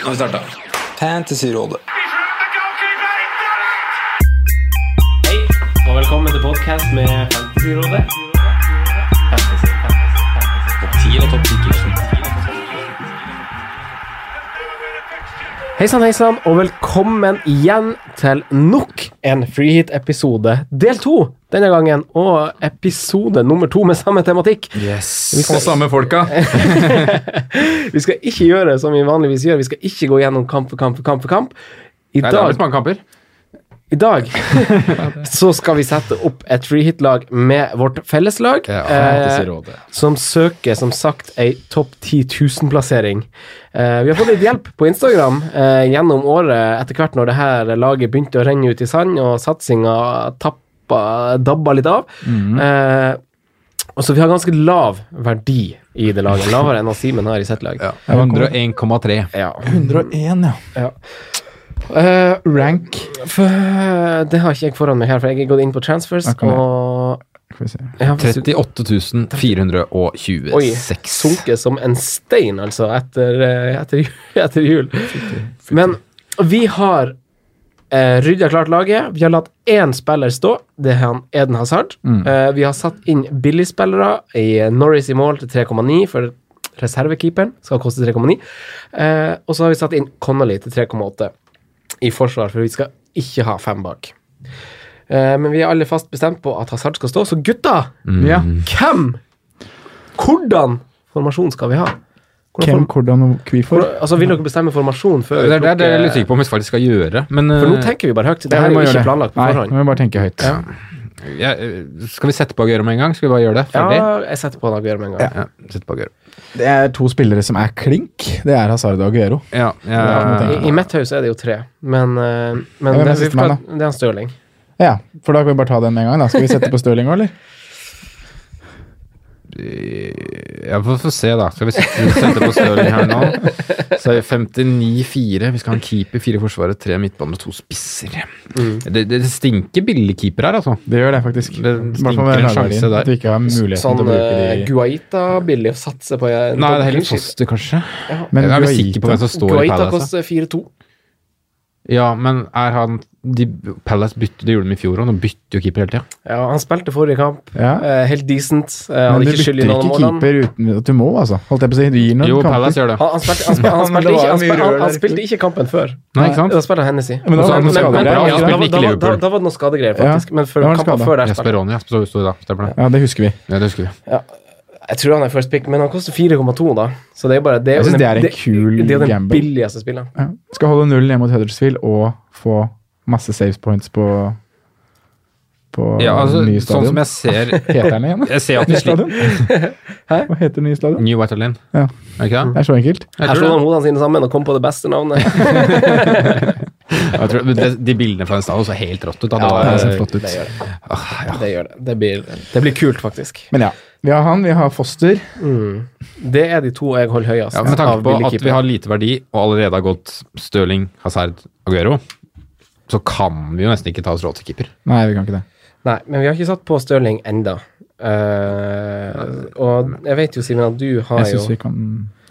Nå har vi starta. Fantasyrådet. Hei, og velkommen til podcast med Fantasyrådet. Hei sann, hei sann, og velkommen igjen til nok en Freehit-episode, del to denne gangen, og episode nummer to med samme tematikk. Yes. Og samme folka. Vi skal ikke gjøre som vi vanligvis gjør, vi skal ikke gå gjennom kamp for kamp for kamp for kamp. I Nei, det er dag litt mange kamper. I dag så skal vi sette opp et freehit-lag med vårt felleslag, eh, som søker som sagt ei topp 10 000-plassering. Eh, vi har fått litt hjelp på Instagram eh, gjennom året etter hvert når det her laget begynte å renne ut i sand, og satsinga tappa, dabba litt av. Eh, og så vi har ganske lav verdi i det laget, lavere enn Simen har i sitt lag. Ja, 101,3. Ja. 101, ja. Eh, Rank for, eh, det har ikke jeg foran meg her, for jeg er gått inn på transfers, Jeg kommer. og Skal vi se. Ja, hvis du- 38.426 Oi, sunket som en stein, altså, etter, eh, etter, ju- etter jul. Men vi har eh, rydda klart laget. Vi har latt én spiller stå. Det er han Eden Hazard. Mm. Eh, vi har satt inn billigspillere i eh, Norris i mål til 3,9 for reservekeeperen. Skal koste 3,9. Eh, og så har vi satt inn Connolly til 3,8 i forsvar, for vi skal ikke ha fem bak. Eh, men vi er alle fast bestemt på at Hazard skal stå, så gutta! Mm. Ja. Hvem? Hvordan formasjon skal vi ha? Hvem, Hvordan form hvordan og hvorfor? hvordan- altså, Vil dere bestemme formasjon før vi Det er det er jeg er litt plukker- usikker på om vi faktisk skal gjøre. Men For nå eh, tenker vi bare høyt. Det Ja, her vi er jo må gjøre ikke det. planlagt på Nei, nå forhånd. må vi bare tenke høyt. Ja. ja, eh, skal vi sette på Aguero med en gang? Skal vi bare gjøre det? Ferdig? Ja, jeg setter på en Aguero med en gang. Ja, sette på Aguero. Det er to spillere som er klink. Det er Hazard og Aguero. Ja, Ja, nå tenker ja, I, I mitt hus er det jo tre, men, eh, men Ja, hvem er det, vi siste får ta, mann, det er en Stirling. Ja, for da kan vi bare ta den med en gang. da. Skal vi sette på Stirling òg, eller? ja, Vi får- får se, da. Skal vi sette, sette på Stirling her nå? Så er det 59-4. Vi skal ha en keeper, fire forsvarere, tre midtbaner og to spisser. Det, det stinker billigkeeper her, altså. Det gjør det, faktisk. Det I hvert fall med stinker en lagverdien, sjanse der. At vi ikke har muligheten Sånn til å bruke eh, de Guaita billig å satse på. eh, Nei, det er heller clean sheet. Foster, kanskje. Men jeg er vel Guaita- sikker på hvem som står i Guaita Palace. da. koster 4-2. Ja, men er han de, Palace bytter, det gjorde de i fjor òg, de bytter jo keeper hele tida. Ja, han spilte forrige kamp. Ja. eh, helt decent. eh, Men hadde du ikke bytter skyld i noen av ikke målene. keeper uten at du må, altså. Holdt jeg på å si. Du gir Jo, noen Palace kamper. gjør det. Han, han, spilte, han, spilte, han, men spilte, det var ikke, han, mye spilte, han, rør han der, spilte ikke kampen før. Nei, ikke sant? Da spilte han Hennessy. Men da Og så var er han det noen Men- skadet. men- skader men- Ja, der. han ja, da var- spilte ikke da var- Liverpool. Da, da var det noen skadegreier, faktisk. Men før Da var det kampen skade. før der Jeg spilte spør Ronny, jeg spør så da. Stemmer det. Ja, det husker vi. Ja, det husker vi. Jeg tror han er first pick, men han koster 4,2, da. Så det er bare det Jeg synes den- det er en kul Det er jo den gamble. billigste spilleren. Ja. Skal holde nullen hjemme mot Huddersfield og få masse saves points på på Ja, altså, nye sånn stadion. som jeg ser Heter den igjen? da? Jeg ser at vi Nye sliter stadion? Hva heter den nye stadion? New White Lane. Ja. Er det ikke det? Det er så enkelt. Her Jeg slo tror han det. hodene sine sammen og kom på det beste navnet. Jeg tror, men det, de bildene fra den stadion så helt rått ut. Da. Det Det var, er så flott ut. det gjør det. Ah, Det gjør det. Det blir, det blir kult, faktisk. Men ja. Vi har han, vi har Foster. Det er de to jeg holder høyest. ja, med tanke av på billige at vi keepere. har lite verdi og allerede har gått Stirling, Hazard, Aguero, så kan vi jo nesten ikke ta oss råd til keeper. Nei, vi kan ikke det. Nei, men vi har ikke satt på Stirling enda. Eh, og jeg vet jo, Simen, at du har Jeg jo syns vi kan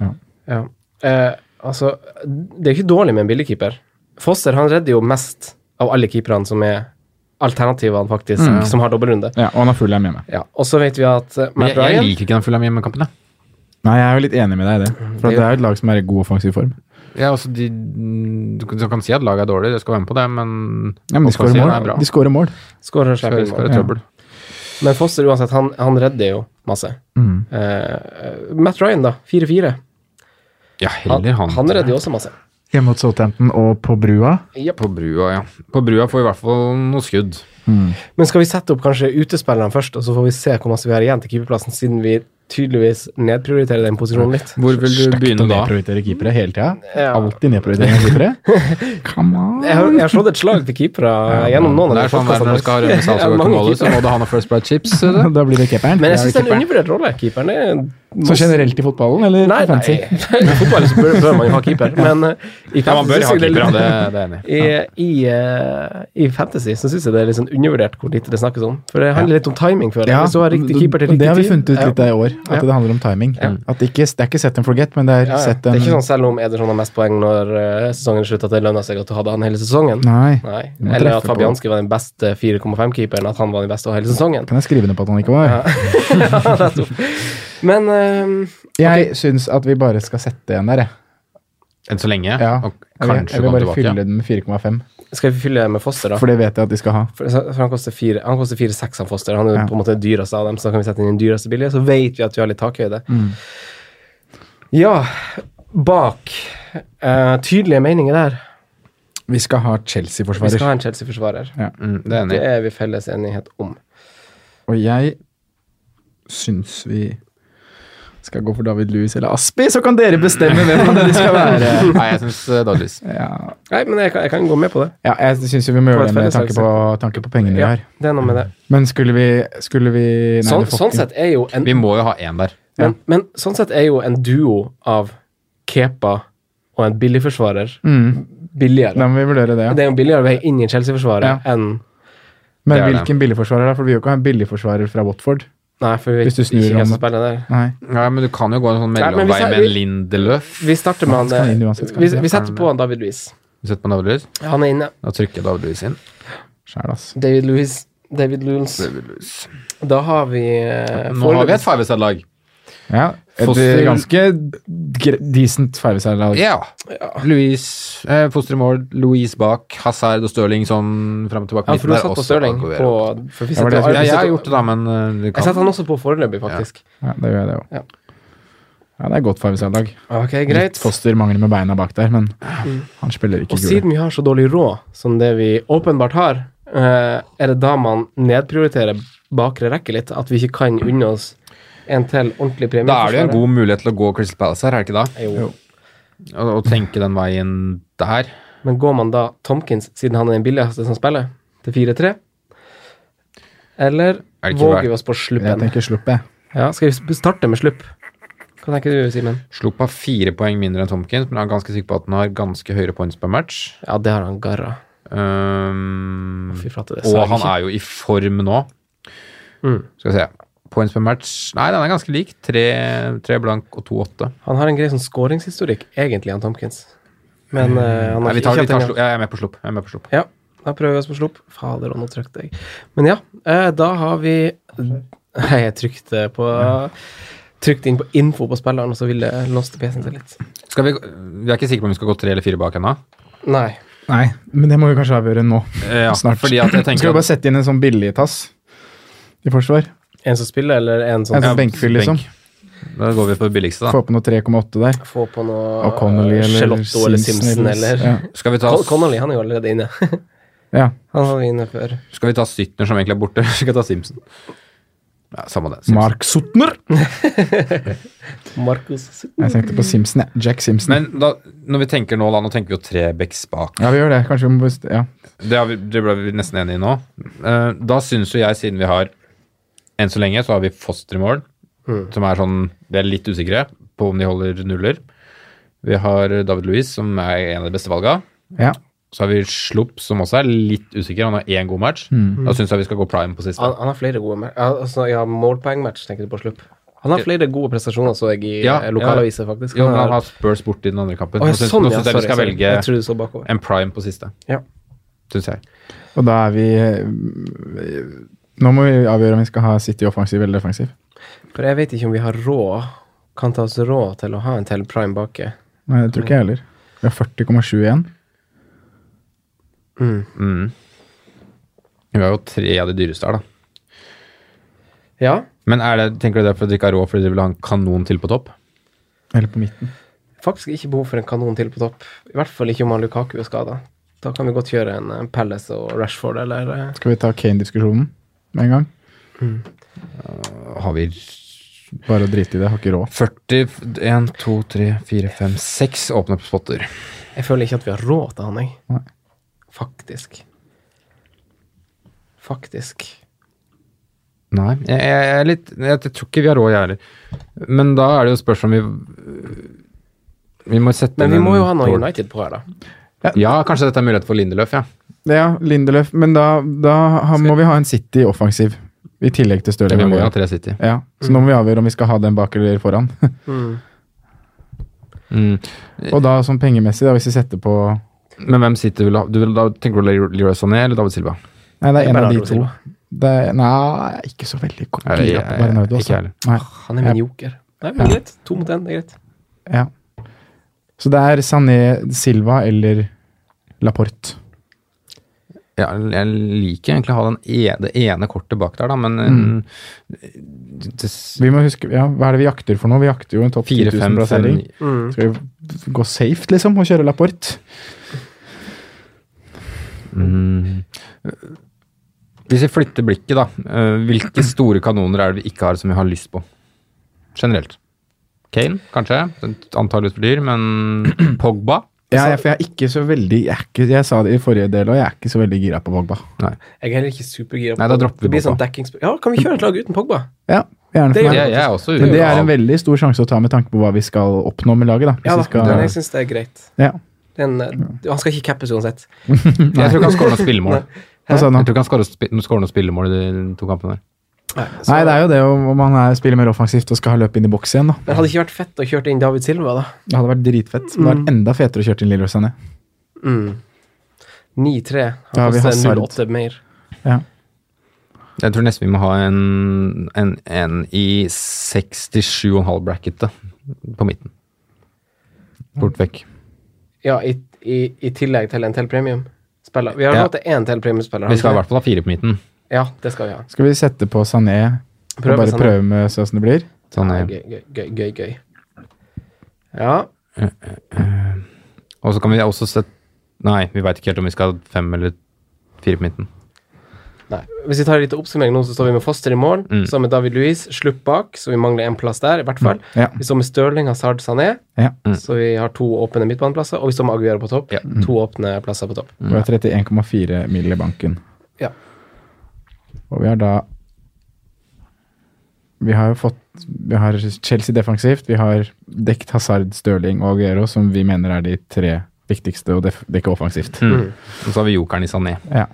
ja. Ja. Eh, altså, det er ikke dårlig med en billigkeeper. Foster han redder jo mest av alle keeperne som er alternativene, faktisk, Mm. som har dobbeltrunde. ja. Og han har full hjem hjemme. Ja. Og så vet vi at eh, Men Matt jeg, jeg Ryan liker ikke den fulle hjemmekampen, jeg. Nei, jeg er jo litt enig med deg i det. For at det er jo et lag som er i god offensiv form. Ja, altså, de, du kan- du kan si at laget er dårlig, jeg skal være med på det, men Ja, men de skårer offensiven er mål. bra. De skårer mål. skårer og Skal- slipper inn skal mål. det trøbbel. Men Foster uansett, han, han redder jo masse. Mm. Eh, Matt Ryan, da. 4-4. Ja, Han, heller han. han redder jo også masse. Hjemme mot Southampton og på brua. På brua, ja. På brua får vi i hvert fall noe skudd. Men skal vi sette opp kanskje utespillerne først, og så får vi se hvor masse vi har igjen til keeperplassen, siden vi tydeligvis nedprioriterer den posisjonen litt? Hvor vil du begynne å da? nedprioritere keepere hele tida. Ja. Alltid nedprioritere keepere. Come on. Jeg har, jeg har slått et slag til keepere gjennom noen av Det de er sånn der podcastene. når du skal ha rømme Ja, salsa og mange guacamole, så keepere. må du ha noe First Bride Chips. eh, Da blir det keeperen. Men jeg Ja, syns det er en keeperen. undervurdert rolle. Keeperen er Så generelt i fotballen, eller Nei, nei. fancy? I fotball så bør, bør man jo ha keeper, men eh, i Ja, man fantasy bør ha synes jeg det er keeper, ja. litt- Det, det er enig. I, i, eh, I fantasy så syns jeg det er litt sånn undervurdert hvor lite det snakkes om. For det handler litt om timing, føler jeg. Hvis du har riktig keeper til det riktig har vi tid- funnet ut litt ja. av i år, at Ja. det handler om timing. At det, ikke, det er ikke set and forget, men det er Ja, ja. set Det er and ikke sånn selv om Ederson har mest poeng når eh, sesongen er slutt, at det lønner seg at du hadde han hele sesongen. Nei. sånn- Nei. Du må Eller at treffe på. Fabianski var den beste 4,5-keeperen, at han var den beste hele sesongen. Kan jeg skrive ned på at han ikke var? Ja. Nettopp. Men eh, Jeg syns at vi bare skal sette en der, jeg. Enn så lenge? Ja. Og Jeg vil, kanskje jeg vil komme bare tilbake? fylle den med 4,5, skal vi fylle med Foster, da? for det vet jeg at de skal ha. For for han koster fire- han koster 4-6 han Foster. Han er jo Ja. på en måte den dyreste av dem, så da kan vi sette inn den dyreste billige. Så vet vi at vi har litt takhøyde. Mm. Ja, bak eh, tydelige meninger der. Vi skal Vi skal ha ha Chelsea-forsvarer. en Chelsea-forsvarer. Mm, det er enig. Det er vi felles enighet om. Og jeg syns vi skal gå for David Louis eller Aspi, så kan dere bestemme hvem av dere skal være. Nei, jeg eh, syns Dodgers. Ja, Nei, men jeg kan, jeg kan gå med på det. ja jeg syns vi må Det var gjøre et det med felles tanke på, tanke på pengene vi Ja, har. det er noe med det. Men skulle vi, skulle vi nei, Sånn, det får sånn ikke- sett er jo en Vi må jo ha én der. men, men sånn sett er jo en duo av Kepa og en billigforsvarer mm, billigere. Da må vi vurdere det, ja. Det er jo en billigere vei inn i Chelsea-forsvaret enn Det Men er det. hvilken billigforsvarer, da? For vi vil jo ikke ha en billigforsvarer fra Watford. Nei, for vi vet Hvis du snur ikke hvem om- som spiller der. Nei. Ja, men du kan jo gå en sånn Nei, men mellomvei hvis jeg- med en Lindeløf. Vi starter med Han skal han inn eh, uansett, skal vi, han ikke? vi setter på han David Louis. Du setter på Dodgers, Han er inne. da trykker David Lewis inn. Skjæl, ass. David Louis. David Louis. David Lewis. Da har vi eh, Nå har vi et foreløpig- Fiveside-lag. Ja, et Foster- ganske gre- decent five-side-lag. Ja. Louise, eh, foster i mål, Louise bak, Hazard og Stirling sånn fram og tilbake. Ja, midten for du har der, satt og på så Stirling på Aguero. for vi Ja, setter, var det ja, jeg skulle vi jeg har setter, gjort det, da, men eh, du jeg kan setter han også på foreløpig, faktisk. Ja, det gjør jeg, det òg. Ja. Ja. det er godt five-side-lag. Ok, greit. Foster mangler med beina bak der, men Mm. han spiller ikke Og gule. siden vi har så dårlig råd som det vi åpenbart har, eh, er det da man nedprioriterer bakre rekke litt? At vi ikke kan unne oss en til ordentlig premie? Da er det jo en god mulighet til å gå Crystal Palace her, er det ikke da? Jo. Og, og tenke den veien der. Men går man da Tomkins, siden han er den billigste som spiller, til 4-3? Eller Er det ikke våger verdt- vi oss på Jeg sluppen? tenker slupp, jeg. Ja, skal vi sp- starte med slupp? Hva tenker du, Simen? Slo på fire poeng mindre enn Tomkins, men jeg er ganske sikker på at han har ganske høyere points per match. Ja, det har han garra. Um, Fy flate, det og sa jeg han ikke. er jo i form nå. Mm. Skal vi se. Points per match Nei, den er ganske lik. Tre, tre blank og to åtte. Han har en grei sånn skåringshistorikk, egentlig, han Tomkins. Men eh, han Mm. Nei, har vi tar, ikke vi hatt tar en slupp. Jeg er med på slupp. Jeg er med på slupp. Ja, da prøver vi oss på slupp. Fader, og nå trykte jeg. Men ja, eh, da har vi Nei, jeg trykte på Trykte inn på info på spilleren, og så ville jeg låste PC-en seg litt. Skal vi, vi er ikke sikre på om vi skal gå tre eller fire bak ennå. Nei. Nei, men det må vi kanskje avgjøre nå. Eh, ja, Snart. Fordi at jeg Skal vi tenker bare sette inn en sånn billig tass i forsvar? En som spiller, eller en som En Ja, sånn benkfyll, liksom. benk. Da går vi på det billigste, da. Få på noe 3,8 der. få på noe Og Connolly eh, eller Gelotto eller Simpson eller Ja. Skal vi ta, Con Connolly han er jo allerede inne. ja. Han var inne før. skal vi ta Sytner, som egentlig er borte, eller skal vi ta Simpson? Ja, samme det. Simpson. Mm. Mark Sutner! Markus Jeg tenkte på Simpson, jeg. Jack Simpson. Men da, når vi tenker nå, da, nå tenker vi jo tre backs bak. Ja, vi gjør det. Kanskje vi må best- Ja. Det, har vi, det ble vi nesten enige i nå. Eh, da syns jo jeg, siden vi har Enn så lenge så har vi Foster i mål, Mm. som er sånn Vi er litt usikre på om de holder nuller. Vi har David Louis, som er en av de beste valga. ja. Så har vi Slupp, som også er litt usikker. Han har én god match. Da syns jeg vi skal gå prime på siste. Han, han har flere gode mer- ja, altså, ja, målpoengmatch, tenker du på slupp. Han har flere gode prestasjoner, så jeg, i Ja, eh, lokalaviser, faktisk. jo, men han har- har Spurs borti den andre kampen. Å, ja, Nå syns sånn, nå ja, syns jeg sorry, vi skal sorry. Jeg velge trodde du så bakover. en prime på siste. Ja. Syns jeg. Og da er vi eh, Nå må vi avgjøre om vi skal ha City offensiv eller defensiv. For jeg vet ikke om vi har råd, kan ta oss råd til å ha en til prime bake. Nei, det tror ikke jeg heller. Vi har 40,7 igjen. Mm. Vi har jo tre av de dyreste her, da. Ja, Men er det, tenker du det er fordi dere ikke har råd fordi dere vil ha en kanon til på topp? Eller på midten. faktisk ikke behov for en kanon til på topp. I hvert fall ikke om han Lukaku er skada. Da kan vi godt gjøre en eh, Palace og Rashford, eller eh, Skal vi ta Kane-diskusjonen med en gang? Har vi Bare å drite i det, har ikke råd. 40 1, 2, 3, 4, 5, 6 åpne spotter. Jeg føler ikke at vi har råd til han, jeg. Nei. Faktisk. Faktisk. Nei, jeg, jeg, jeg er litt jeg, jeg tror ikke vi har råd, jeg heller. Men da er det jo spørsmål om vi Vi må sette Men inn vi må en jo ha noe tål- United på her, da. Ja, kanskje dette er mulighet for Lindeløf, ja. Ja, Lindeløf. Men da, da ha, må vi ha en City offensiv. I tillegg til Stirling. Vi må og jo ha tre Aguero. City. ja. Så nå må vi avgjøre om vi skal ha den bak eller foran. Mm. og da sånn pengemessig, da, hvis vi setter på Men hvem City vil du ha? Du vil, da tenker du Le- Leroy Sané eller David Silva? Nei, det er en av de Bernardo to. Silva. Det er, nei, jeg er ikke så veldig Nei, jeg- gira på Bernardo. ikke Altså. heller. Nei, Han er min joker. Nei, men greit. To mot én, det er greit. ja. Så det er Sané, Silva eller Laporte. Ja, jeg liker egentlig å ha den e, det ene kortet bak der, da, men Mm. eh, det, Vi må huske, ja, Hva er det vi jakter for nå? Vi jakter jo en topp 10 Fire, fem, 000 fem plassering. Mm. Skal vi gå safe, liksom, og kjøre Laporte? mm. Hvis vi flytter blikket, da. eh, Hvilke store kanoner er det vi ikke har som vi har lyst på? Generelt. Kane, kanskje. Antakeligvis for dyr, men Pogba? Ja, jeg, for jeg er ikke så veldig Jeg, er ikke, jeg sa det i forrige del, og jeg er ikke så veldig gira på Pogba. Nei. Jeg er heller ikke supergira. på Nei, da Pogba. dropper vi Det blir Pogba. sånn dekkingsspill. Ja, kan vi kjøre et lag uten Pogba? Ja, gjerne Det for gjør meg. Altså, Jeg, jeg er også Men det er en veldig stor sjanse å ta med tanke på hva vi skal oppnå med laget. da. Hvis Ja da, vi skal, men jeg syns det er greit. ja. Det er en, eh, Han skal ikke cappes uansett. Jeg tror ikke han skårer noe spillemål. Hva sa du nå? Jeg tror ikke han skårer spi- skårer noe spillemål i de to kampene der. Nei, så- Nei, det er jo det om om han er, spiller mer offensivt og skal ha løp inn i boks igjen. da. Men hadde det ikke vært fett å kjøre inn David Silva, da? Det hadde vært dritfett. Men det hadde vært enda fetere å kjøre til Lilleroy Sané. Mm. 9-3. Da har Han vi koster Hazard. 0,8 mer. Ja. Jeg tror nesten vi må ha en, en, en i 67,5 bracket da, på midten. Bort vekk. Ja, i, i, i tillegg til en til premiumspiller. Vi har Ja. råd til én til premiumspiller. har Vi skal i ikke hvert fall ha fire på midten. det? Ja, det skal vi ha. Skal vi sette på Sané og Prøve bare Sané. prøve med se åssen det blir? Sånn, Nei, eh, gøy, gøy, gøy, gøy, gøy. Ja. og så kan vi også sette Nei, vi veit ikke helt om vi skal ha fem eller fire på midten. Nei. Hvis vi tar en liten oppsummering nå, så står vi med Foster i mål. Mm. Så med David Louis, slutt bak, så vi mangler en plass der, i hvert fall. Ja. Vi står med Stirling, Hazard, Sané, ja. Mm. så vi har to åpne midtbaneplasser. Og vi står med Aguero på topp. Ja. To åpne plasser på topp. Mm. Og vi har 31,4 mil i banken. Ja. Og vi har da Vi har jo fått Vi har Chelsea defensivt. Vi har dekt Hazard, Stirling og Aguero, som vi mener er de tre viktigste å def- dekke offensivt. Mm. Og så har vi jokeren i Sané. Ja.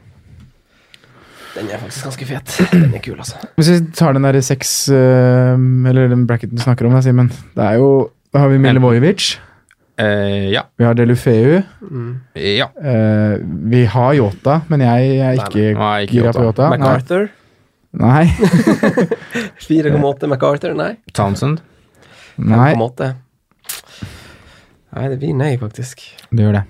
Den er faktisk ganske fet. Den er kul, altså. Hvis vi tar den derre seks eh, Eller den bracketen du snakker om, da, Simen. Det er jo Da har vi Milivojevic. Eh, ja. Vi har Delufeu. Ja. Eh, vi har Yota, men jeg er ikke, Nei, ikke gira på Jota. Yota. Nei. MacArthur. Nei. 4,8 MacArthur, nei. Townsend. Nei. 5,8. Nei, det blir nei, faktisk. Det gjør det.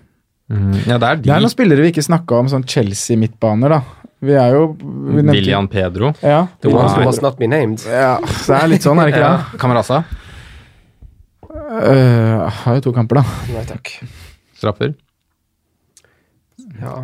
Mm, Ja, det er Det er de. noen spillere vi ikke snakka om, sånn Chelsea-midtbaner, da. Vi er jo vi nevnte- William Pedro. Ja. The ones who Nei. must not be named. ja. Så det er litt sånn, er det ikke det? Kamerasa. Øh, har jo to kamper, da. Nei takk. Straffer. Ja.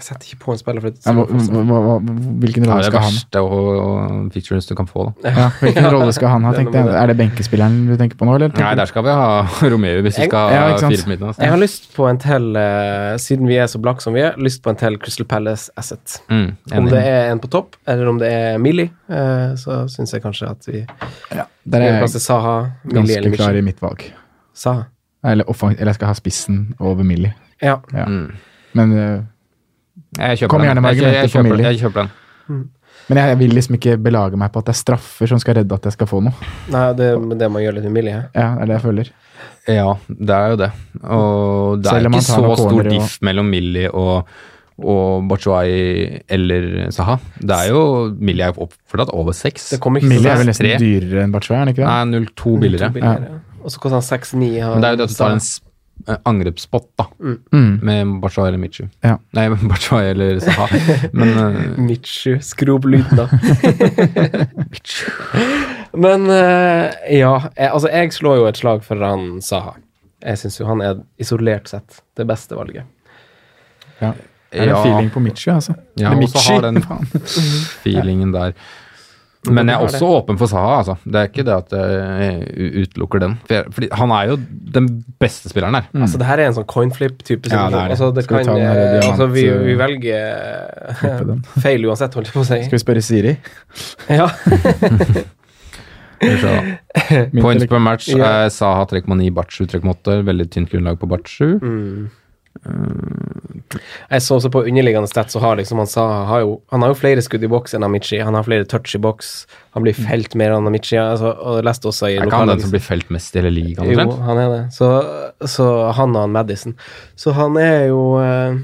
Jeg setter ikke på en spiller for et Ja, hva, hva, hva, hvilken Det rolle er det skal han verste og fixtures du kan få, da. ja, Hvilken rolle skal han ha? det er tenkte jeg. noe med det. Er det benkespilleren du tenker på nå, eller? Nei, der skal vi ha Romeo hvis vi Jeg- skal Ja, ha ikke sant. fire på midten. Altså. Jeg har lyst på en til, eh, siden vi er så blakke som vi er, lyst på en til Crystal Palace Asset. Mm, Om enig. det er en på topp, eller om det er Millie, eh, så syns jeg kanskje at vi gir Der er plass jeg til Saha, Millie eller ganske klar Michel. i mitt valg. Saha. Eller, offens- eller jeg skal ha spissen over Millie. Ja. Ja. Mm. Men, øh, Jeg kjøper Kom den. gjerne med jeg, jeg, argumenter for kjøper, Millie. jeg kjøper den. men jeg vil liksom ikke belage meg på at det er straffer som skal redde at jeg skal få noe. Nei, det er det man gjør litt med Millie. hæ? Ja, det er det jeg føler. Ja, det er jo det. Og det Selv er om ikke han tar så noen stor corner og- diff mellom Millie og, og Bachuay eller Saha. Det er jo Millie er jo oppført over seks. Det kommer ikke så Millie er vel svært- nesten Tre. dyrere enn Bachelet, er han ikke det? Nei, 0,2 billigere. Mm. to billigere, ja. Og så koster han 6-9. Men det er jo det at du tar en s- eh, angrepspott, da, Mm. med Bachuay eller Michu. Ja. Nei, Bachuay eller Saha. Men eh, Mitchu. Skru opp lyden, da. Men eh, ja, jeg, altså jeg slår jo et slag for han Saha. Jeg syns jo han er isolert sett det beste valget. Ja. Er det ja, feeling på Mitchy, altså? ja Eller og så har Mitchy, den faen. feelingen der. Men jeg er Det er også åpen for Saha, altså. Det er ikke det at eh, jeg u- utelukker den. For jeg, fordi han er jo den beste spilleren her. Altså, det her er en sånn coinflip-type Ja, situasjon. det er det. Altså, det Skal vi kan, ta den her eh, diamant- altså, vi, vi velger den? eh, feil uansett, holdt jeg på å si. Skal vi spørre Siri? Ja. Skal vi se da. Min Points telefon- per match Ja. er Saha 3,9, Batsju 3,8. Veldig tynt grunnlag på Batsju. Mm. Jeg så også på underliggende stats, så har liksom han sa han har jo, han har jo flere skudd i boks enn Amici. Han har flere touch i boks. Han blir felt mer enn Amici. Altså, og jeg leste også i Mm. Er ikke han den lokalavisen. som blir felt mest i hele ligaen? Jo, omtrent? han er det. Så, så han og han Madison. Så han er jo eh,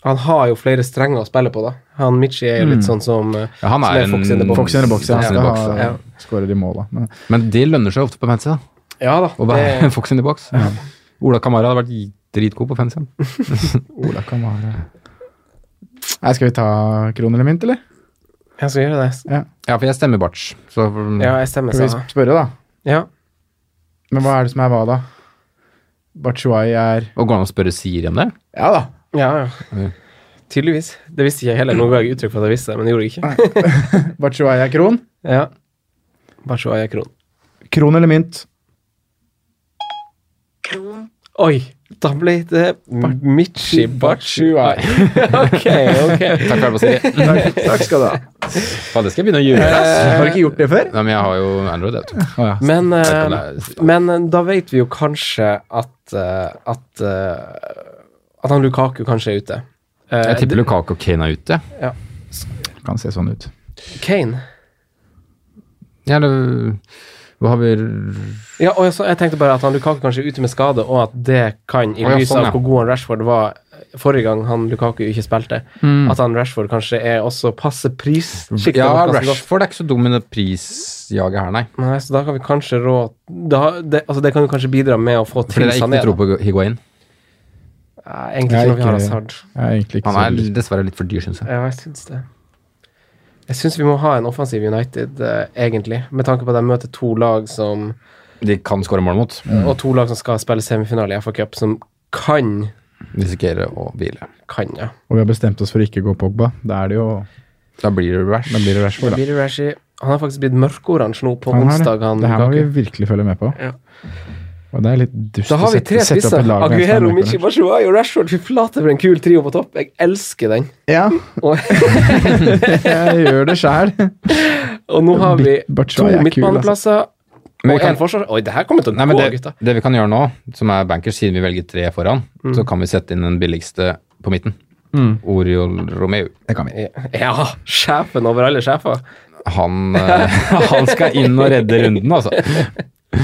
Han har jo flere strenger å spille på, da. Han Michi er jo litt sånn som eh, Mm. Ja, han som er en Fox in the box. Fox in the box, ja. Fox in the box, Skal ha- ja. Skårer i mål, da. Men Men det lønner seg ofte på fancy, da. Ja da. Å Det, være en fox in the box. Ola Kamara hadde vært dritgod på fancy. Ola Kamara Nei, Skal vi ta kron eller mynt, eller? jeg skal gjøre det. Ja. Ja, for jeg stemmer Batch. Så mm. Ja, jeg stemmer, Skal vi sa sp- spørre, da? Ja. Men hva er det som er hva, da? Bachuai er Og går det an å spørre Siri om det? Ja da! ja, ja. Tydeligvis. Det visste ikke jeg heller. Nå ga jeg uttrykk for at jeg visste det, men det gjorde jeg ikke. Bachuai er kron. Ja. Bare så er jeg kron. Kron eller mynt? Kron. Oi! Da ble det Michi Bachuai. ok, ok. Takk for det, Siri. Takk, takk skal du ha. Faen, det skal jeg begynne å gjøre. ass. Har du ikke gjort det før? Nei, men jeg har jo Android, jeg vet du. Å, ja. Men, Jeg vet ikke om eh, det er- men eh, da vet vi jo kanskje at eh, at, eh, at han Lukaku kanskje er ute. Eh, Jeg tipper Lukaku og Kane er ute. Kan se sånn ut. det- Kane. Ja, eller Hva har vi Ja, og jeg, så, jeg tenkte bare at han Lukaku kanskje er ute med skade, og at det kan, i Å, ja, lys sånn, av ja. hvor god han Rashford var forrige gang han Lukaku ikke spilte, at han Rashford kanskje er også passe pris. Skikt Mm. Ja, over plassen godt. Rashford er ikke så dum i det prisjaget her, nei. Nei, så da kan vi kanskje rå da, det, altså det kan jo kanskje bidra med å få Fordi til det er ikke Sané. noe tro da. på Higuain. Nei, Egentlig Jeg ikke når vi har ikke- Hazard. Jeg er egentlig ikke Han så er dessverre litt for dyr, syns jeg. Ja, jeg syns det. Jeg syns vi må ha en offensiv United, eh, egentlig, med tanke på at de møter to lag som De kan skåre mål mot. Og to lag som skal spille semifinale i FA Cup, som kan Risikerer å hvile. Kan, ja. Og vi har bestemt oss for å ikke gå Pogba. Da er det jo Da blir det Rash. Da blir det Rashford, Da da. blir det Rashi. Han har faktisk blitt mørkeoransje nå på Han har det. onsdag. Han, det her må vi Lukaku. virkelig følge med på. Ja. Og det er litt dust da har vi tre spisser. Aguero, Michi Bashuay og Rashford. Fy flate for en kul trio på topp. Jeg elsker den. Ja, Og, jeg gjør det sjæl. og nå har vi Bit- Batshuayi to er kul, midtbaneplasser Men vi og kan- en forsvar. Oi, det her kommer til å Nei, gå, men det, gutta. det vi kan gjøre nå, som er bankers, siden vi velger tre foran, Mm. så kan vi sette inn den billigste på midten. Oriol Romeu. Det kan vi. Ja, sjefen over alle sjefer. Han, eh, han skal inn og redde runden, altså.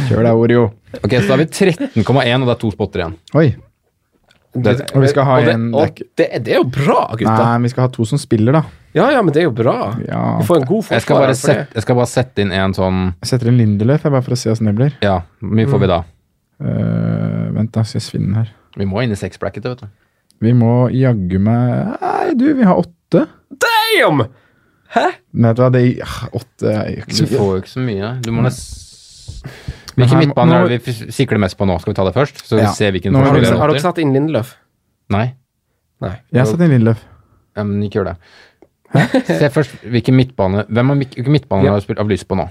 Kjør deg, Oreo. Ok, Så da har vi 13,1, og det er to spotter igjen. Oi. Det- og vi skal ha det, en- og det, er- det er jo bra, Nei, gutta. vi skal ha to som spiller, da. Ja, ja, men det er jo bra. Ja. Vi får en god Jeg skal, forsvarer for bare det. sette, jeg skal bare sette inn en sånn Jeg setter en Lindeløf, jeg, bare for å se åssen det blir. Ja, hvor mye Mm. får vi da? Eh, vent, da, skal jeg finne den her. Vi må inn i sexbracketet, vet du. Vi må jaggu meg Nei, du, vi har åtte. Damn! Nei, vet du hva, det ah, Åtte er jo Du ikke så får jo ikke så mye. Du må nes- Men Hvilken her må- midtbane nå- er det vi f- sikler mest på nå? Skal vi ta det først? Så Ja. vi ser hvilken Nå Har forsvarer må vi dere, begynne. vi har dere åtter? satt inn Lindløf? Nei. Nei. Jeg har satt en Lindeløf. Ja, men ikke gjør det. Se først hvilken midtbane Hvem har, hvilken midtbane Ja. har du spilt av lys på nå?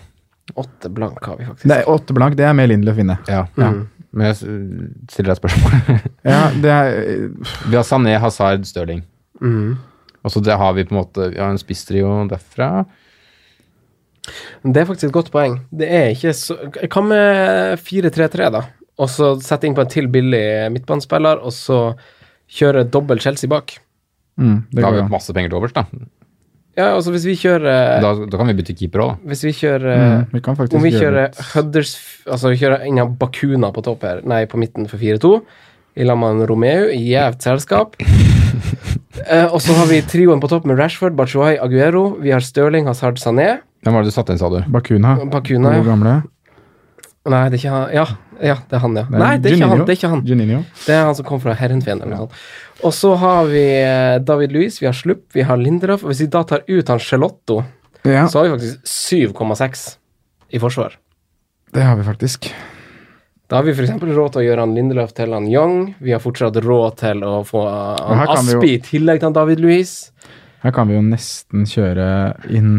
Åtte blank har vi faktisk. Det er åtte blank, det er med Lindeløf inne. Ja. Mm. Men jeg s- stiller deg et spørsmål. Ja, det er vi har Sané, Hazard, Stirling. Mhm. Og så det har vi på en måte Vi har en spisstrio derfra. Men Det er faktisk et godt poeng. Det er ikke så Hva med 4-3-3, da? Og så sette inn på en til billig midtbanespiller, og så kjøre dobbel Chelsea bak. mm, Det Da har går vi bra. masse penger til overs, da. Ja, altså hvis vi kjører Da, da kan vi bytte keeper òg, da. Hvis vi kjører Mm, vi kan faktisk Eh, Om vi gjøre kjører litt- Hudders Altså vi kjører en av Bakuna på topp her Nei, på midten for 4-2 I lag med en Romeo i jævt selskap eh, Og så har vi trioen på topp Med Rashford, Batshuayi, Aguero Vi har Sterling, Hazard, Sané Hvem var det du satte inn, sa du? Bakuna. Bakuna, Gode ja gamle. Nei, det er ikke han Ja, ja det er han, ja Nei, det er ikke han, det er ikke han Juninho. Det er han som kom fra Herrenfien eller noe sånt. Og så har vi eh, David Luiz, vi har Slupp, vi har Lindelöf Og hvis vi da tar ut han Charlotto Ja, Så har vi faktisk 7,6 i forsvar det har vi faktisk. Da har vi f.eks. råd til å gjøre han Lindeløf til han Young. Vi har fortsatt råd til å få uh, Og her han kan vi jo- Aspi i tillegg til han David Louis. Her kan vi jo nesten kjøre inn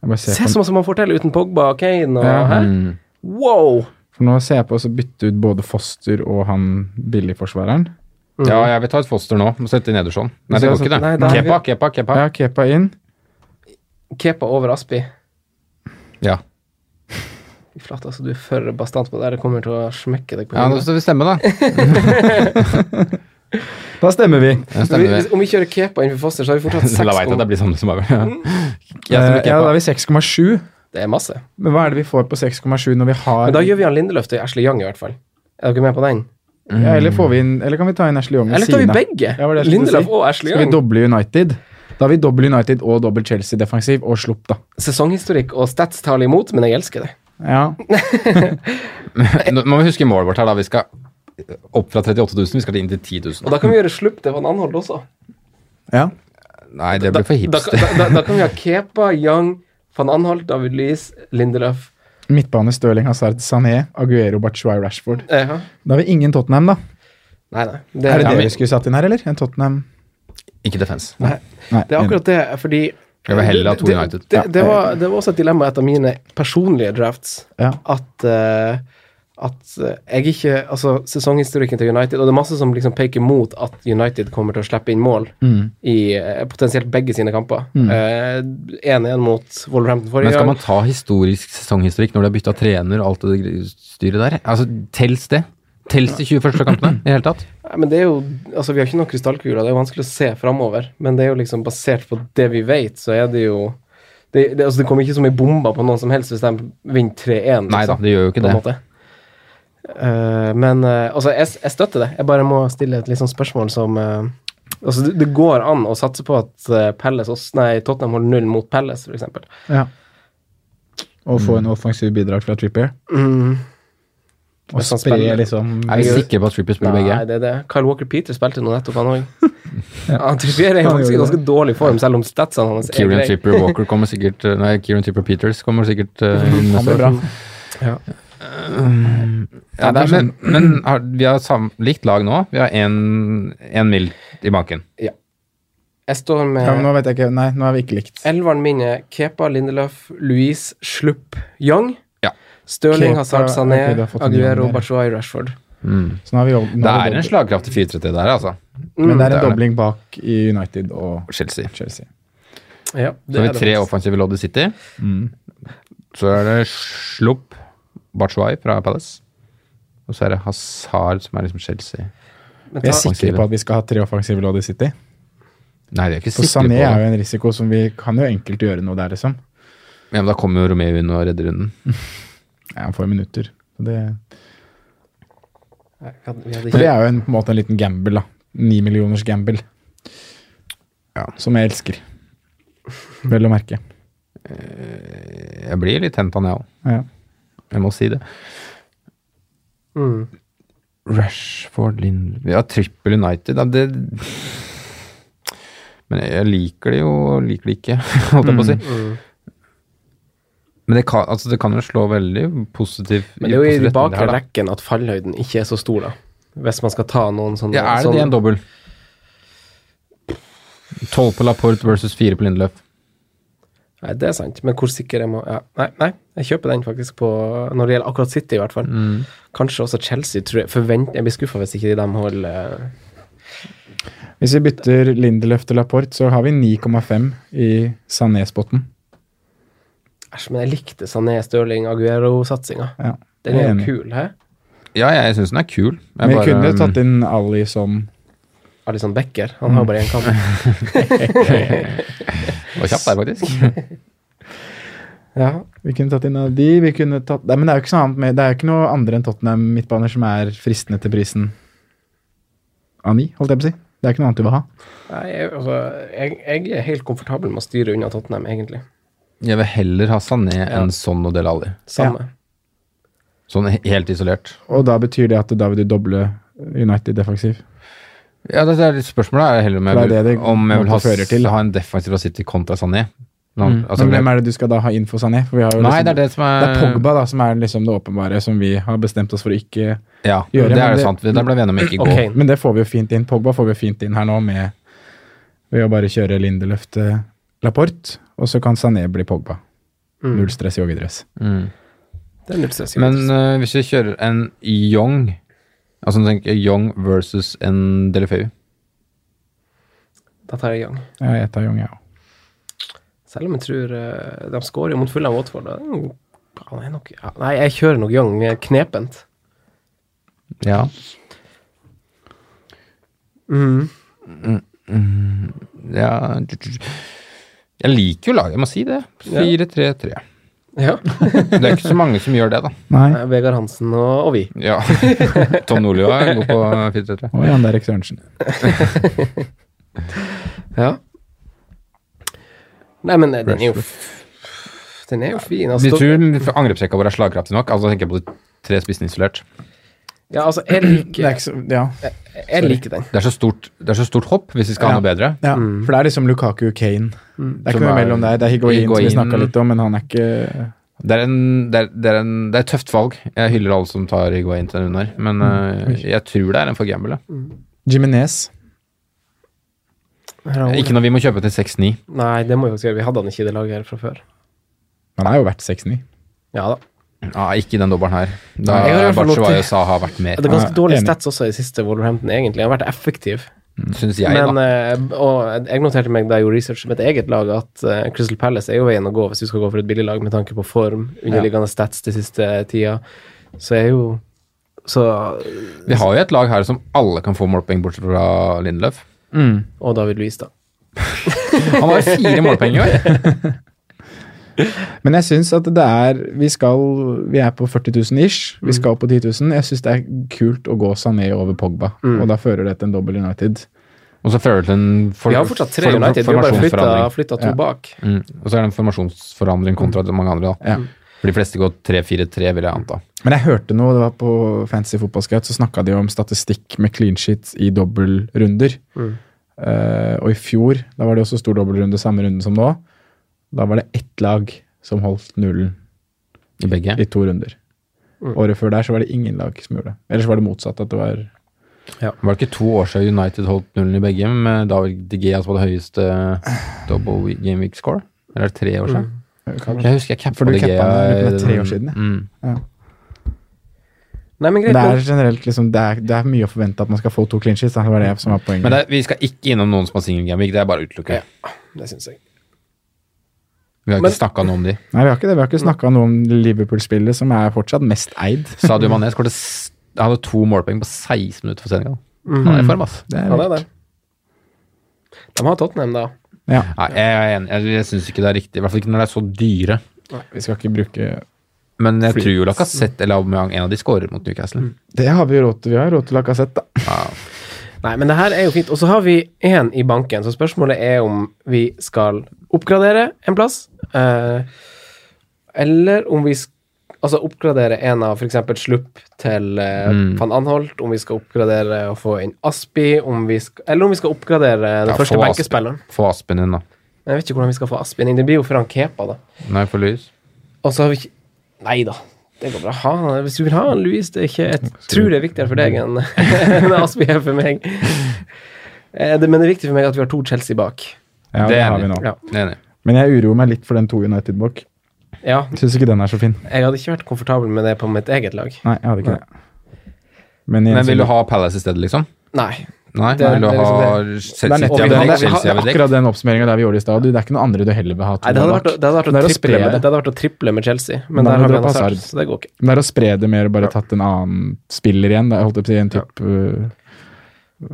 Jeg bare ser Se på, så mye man får til uten Pogba og Kane og Ja. hæ? Mm. Wow! for nå ser jeg på å bytte ut både Foster og han billigforsvareren. Mm. Ja, jeg vil ta et foster nå. Må sette nederst sånn. Nei, Så det går altså- ikke, det. nei, da- kepa, kepa, kepa. Ja, Kepa inn. Kepa over Aspi. Ja. Fy flate, altså, du er for bastant på det der. Jeg kommer til å smekke deg på Ja, nå hodet. skal vi stemme, da. Da stemmer vi. Ja, Om vi- stemmer vi. Om vi kjører Kepa innenfor Foster, så har vi fortsatt seks Da veit jeg at om. det blir samme som meg. Ja. Mm. Jeg Eh, stemmer ja, kepa. da er vi 6,7. Det er masse. Men hva er det vi får på 6,7 når vi har Men da gjør vi han Lindeløf til Ashley Young, i hvert fall. Er dere med på den? ja, Eller får vi inn Eller kan vi ta inn Ashley Young ved Eller tar vi siden av? begge? Ja, var det jeg skulle Lindeløf si. og Ashley Skal vi Young. doble United? Da har vi dobbel United og dobbel Chelsea defensiv, og slupp, da. Sesonghistorikk og stats tar jeg imot, men jeg elsker det. Ja. Nå må vi huske målet vårt her, da. Vi skal opp fra 38 000, vi skal inn til 10 000. Og da kan vi gjøre slupp til Van Anhold også. ja. Nei, det Da, blir for da, hipster. da, da, da kan vi ha Kepa, Young, Van Anhold, David Lees, Lindeløf Midtbane Stirling, Hazard, Sané, Aguero, Bachuay, Rashford. eh, Da har vi ingen Tottenham, da. Nei, nei. Det, Er det Ja, det men- vi skulle satt inn her, eller? En Tottenham Ikke defense. Nei, Nei. det er akkurat det, fordi Jeg vil heller ha to Det- Det, United. det, det, var, det var også et dilemma i et av mine personlige drafts. Ja. At, eh, at eh, jeg ikke Altså, sesonghistorikken til United Og det er masse som liksom peker mot at United kommer til å slippe inn mål Mm. i eh, potensielt begge sine kamper. Eh, 1-1 mot Wolverhampton Men forrige skal gang. man ta historisk sesonghistorikk når de har bytta trener og alt det gr- styret der? Altså, Tels det? Tels de 20 første kampene i det hele tatt? Nei, Men det er jo Altså, vi har ikke noen krystallkuler. Det er jo vanskelig å se framover. Men det er jo liksom basert på det vi vet, så er det jo det, det, altså, det kommer ikke som ei bombe på noen som helst hvis de vinner 3-1. Nei da, liksom. det gjør jo ikke på en det. måte. Eh, men eh, altså, jeg, jeg støtter det. Jeg bare må stille et litt sånn spørsmål som eh, Altså, det, det går an å satse på at eh, Palace også, nei, Tottenham holder null mot Palace, for eksempel Ja. Og få en offensiv bidrag fra Trippier. Mm, Og Hvis han spre spiller. liksom Er vi sikre på at Trippier spiller nei, begge? det er det. Kyle Walker Peter spilte nå nettopp, han òg. Han Trippier er i Han faktisk i gjorde ganske dårlig form, selv om statsene hans er Kieran greie. Tripper Walker kommer sikkert eh, Nei, Kieran Tripper Peters kommer sikkert eh, inn Han neste blir år. Eh, bra. Ja, det er, men men har, vi har sam, likt lag nå. Vi har én mil i banken. Jeg står Ja, men med nå vet jeg ikke Nei, nå er vi ikke likt. elveren min er Kepa, Lindelöf, Louise, Slupp, Young. Ja. Stirling, Kepa, Hazard, Sané, ok, du har fått en Aguero, Young der. Bachoai, Rashford. Så nå har vi, jo- nå Det har vi er en dobbelt. slagkraftig 4-3 der, altså. Men det er det er en det. dobling bak i United og Chelsea. Chelsea. Ja, det Så har er vi det tre faktisk. offensive lodd i City. Mm. Så er det Slupp Bachuay fra Palace. Og så er det Hazard som er liksom Chelsea. Men Vi er ta- sikre på at vi skal ha tre offensive lodd i City. Nei, det er ikke For sikre Sané på. er det. jo en risiko som vi kan jo enkelt gjøre noe der, liksom. Ja, men da kommer jo Romeo inn og redder runden. Ja, han får jo minutter. Så Det, Nei, vi hadde- vi hadde for det ikke- er jo en, på en måte en liten gamble, da. Ni millioners gamble. Ja. Som jeg elsker. Vel å merke. Jeg blir litt henta, jeg òg. Ja. Jeg må si det. Mm. Rashford, Lind... Ja, Triple United. Ja, det Men jeg liker det jo, og liker det ikke, holdt jeg på å si. Mm, Men det kan, altså, det kan jo slå veldig positiv Men det er jo i positiv de retning bakre her, da. rekken at fallhøyden ikke er så stor, da. Hvis man skal ta noen sånne Ja, er det sånn, det en dobbel? Tolv på Laporte versus fire på Lindløf. Nei, det er sant. Men hvor sikker er man ja. nei, nei, jeg kjøper den faktisk på Når det gjelder akkurat City, i hvert fall. Mm. Kanskje også Chelsea. Tror jeg, forvent, jeg blir skuffa hvis ikke de dem holder eh, Hvis vi bytter Lindelöf til Laporte, så har vi 9,5 i Sané-spotten. Æsj, men jeg likte Sané Stirling Aguero-satsinga. Ja. Den jeg er enig. jo kul, hæ? Ja, jeg syns den er kul. Jeg Men vi bare- kunne jo tatt inn Ali som Alison Becker. Han har jo bare én kamp. Det var kjapt der, faktisk. Ja. Vi kunne tatt inn av de. Vi kunne tatt, nei, men det er jo ikke, noe annet med, det er jo ikke noe andre enn Tottenham midtbaner som er fristende til prisen av ni, holdt jeg på å si. Det er ikke noe annet du vil ha. Nei, jeg, altså, jeg, jeg er helt komfortabel med å styre unna Tottenham, egentlig. Jeg vil heller ha Sané enn Son og Del Alli. Samme. Sånn he- helt isolert. Og da betyr det at da vil du doble United defensiv. Mm. Ja, det er litt spørsmålet er heller om jeg For vil, det er det det om jeg vil ha, måtte fører til, da. ha en defensiv av City kontra Sané. Men han- altså, men hvem er det du skal da ha inn for Sané? For vi har jo Nei, liksom, det er det som er det er Pogba da, som er liksom det åpenbare som vi har bestemt oss for å ikke Ja, det Gjøre, men er det det- sant. Der ble vi enige om ikke i går. Ok. Men det får vi jo fint inn. Pogba får vi jo fint inn her nå med ved å bare kjøre Lindelöf til Laporte, og så kan Sané bli Pogba. Mm. Null stress joggedress. Det er null stress. Mm. Men eh, hvis vi kjører en Young Altså tenk Young versus en Delefeu. da tar jeg i gang. Ja, jeg tar Young, jeg òg. Selv om jeg tror eh, de skårer jo mot fulle av Watford. da. Mm, han er nok, ja, nei, jeg kjører nok Young eh, knepent. Ja. Mm. Mm. ja Jeg liker jo laget, jeg må si det. 4-3-3. Ja. Det er ikke så mange som gjør det, da. Nei. Eh, Vegard Hansen og, og vi. Ja. Tom Nordli er god på 4-3-3. Og Jan Derek Sørensen. Ja. Nei, men eh, den er jo f- Den er jo fin. Vi Altså, tror angrepsrekka vår er slagkraftig nok. Altså tenker jeg på de tre spissene isolert. ja, altså, jeg liker, ja. jeg liker den. Det er så stort, det er så stort hopp hvis vi skal ha noe bedre. ja. For det er liksom Lukaku og Kane. Det er Mm. Som ikke noe er- mellom der. Det er Higuain, som vi Higuain. snakka litt om, men han er ikke Det er, en, det, er, det, er en, det er et tøft valg. Jeg hyller alle som tar Higuain til denne runden her, men Mm. øh, jeg tror det er en for gamble. ja. Jiminez. Her er Ikke Ole. når vi må kjøpe til 6-9. Nei, det må vi faktisk gjøre. Vi hadde han ikke i det laget her fra før. Han er jo verdt 6-9. Ja da. Ja, ikke den dobbelen her. Da Nei, jeg har i hvert fall lov Bachuayo til- sa har vært mer, Det er ganske Ja, dårlige enig. stats også i siste Wolverhampton, egentlig. Han har vært effektiv. syns jeg, Men, da. eh, og jeg noterte meg da jeg gjorde research med et eget lag, at eh, Crystal Palace er jo veien å gå hvis du skal gå for et billig lag med tanke på form, underliggende stats de siste eh, tida. Så er jo Så eh, Vi har jo et lag her som alle kan få målpoeng, bortsett fra Lindløf. Og David Luiz, da. Han har jo fire målpoeng i år. Men jeg syns at det er Vi skal Vi er på 40 000 ish. Mm. Vi skal på 10 000. Jeg syns det er kult å gå Sané over Pogba, Mm. og da fører det til en dobbel United. Og så fører det til en for, Vi har fortsatt tre for- United, vi har bare flytta, formasjonsforandring. flytta to Ja. bak. Mm. Og så er det en formasjonsforandring kontra mange andre. da. Ja. For de fleste går 3-4-3, vil jeg anta. Men jeg hørte noe, det var på Fantasy Football Scout, så snakka de om statistikk med clean sheet i dobbeltrunder. Mm. Eh, og i fjor, da var det også stor dobbeltrunde, samme runde som nå. Da var det ett lag som holdt nullen I begge. i to runder. Mm. Året før der så var det ingen lag som gjorde det. Ellers var det motsatt, at det var Var det ikke to år siden United holdt nullen i begge, med David De Gea som hadde høyeste double week- game week score? Eller er det tre år siden? Jeg husker jeg Mm. cappa For du De cappa Gea. den litt mer tre år i- siden, ja. Mm. Nei, men Det greit. er men- generelt liksom, det er, det er mye å forvente at man skal få to clean sheets. da. Det var det som var poenget. Men det, er- vi skal ikke innom noen som har single game week, det er bare å utelukke. Ja. Det syns jeg. Vi har Men- ikke snakka noe om de. Nei, vi har ikke det. Vi har ikke snakka noe om Liverpool-spillet, som er fortsatt mest eid. Sadio Mané skårte s- han hadde to målpoeng på 16 minutter for Senegal. Han er i form, ass. Mm. Det er Ja, det er vilt. det. De har Tottenham, da. Ja. Nei, jeg er enig. Jeg, jeg syns ikke det er riktig. I hvert fall ikke når det er så dyre. Vi skal ikke bruke Men jeg tror jo Lacassette eller Aubameyang, en av de skårer mot Newcastle. Mm. Det har vi jo råd til. Vi har råd til Lacassette, da. Nei, men det her er jo fint. Og så har vi én i banken, så spørsmålet er om vi skal oppgradere en plass, eh, eller om vi skal Altså oppgradere en av f.eks. Slupp til eh, Mm. van Anholt, om vi skal oppgradere og få inn Aspi, om vi skal, eller om vi skal oppgradere den Ja, første få Aspi- benkespilleren. Få Aspen inn, da. Men Jeg vet ikke hvordan vi skal få Aspen inn. Det blir jo Frank Kepa, da. Nei, for Louis. Og så har vi ikke Nei da, det går bra. Ha, han. hvis du vil ha han, Louis, det er ikke Jeg tror det er viktigere for deg enn enn Aspi er for meg. Eh, det- Men det er viktig for meg at vi har to Chelsea bak. Ja, det, Det er har vi. vi nå. Ja. Enig. Men jeg uroer meg litt for den to United-bok. ja, Syns ikke den er så fin. jeg hadde ikke vært komfortabel med det på mitt eget lag. Nei, jeg hadde ikke det. Men, igjen, Men vil du så- ha Palace i stedet, liksom? Nei. Nei, Det er- vil du det er ha liksom det er Chelsea nettopp over den, deg, det er Chelsea over deg? akkurat den oppsummeringa der vi gjorde i stad. Du, Det er ikke noe andre du heller vil ha to Nei det, hadde bak. vært, å- det hadde vært å Det er å triple, spre det det. hadde vært å triple med Chelsea, men Men da der må har du vi en droppe Hazard, Hazard. så det går ikke. Det er å spre det mer og bare tatt en annen spiller igjen. da. Jeg holdt på å si en type uh,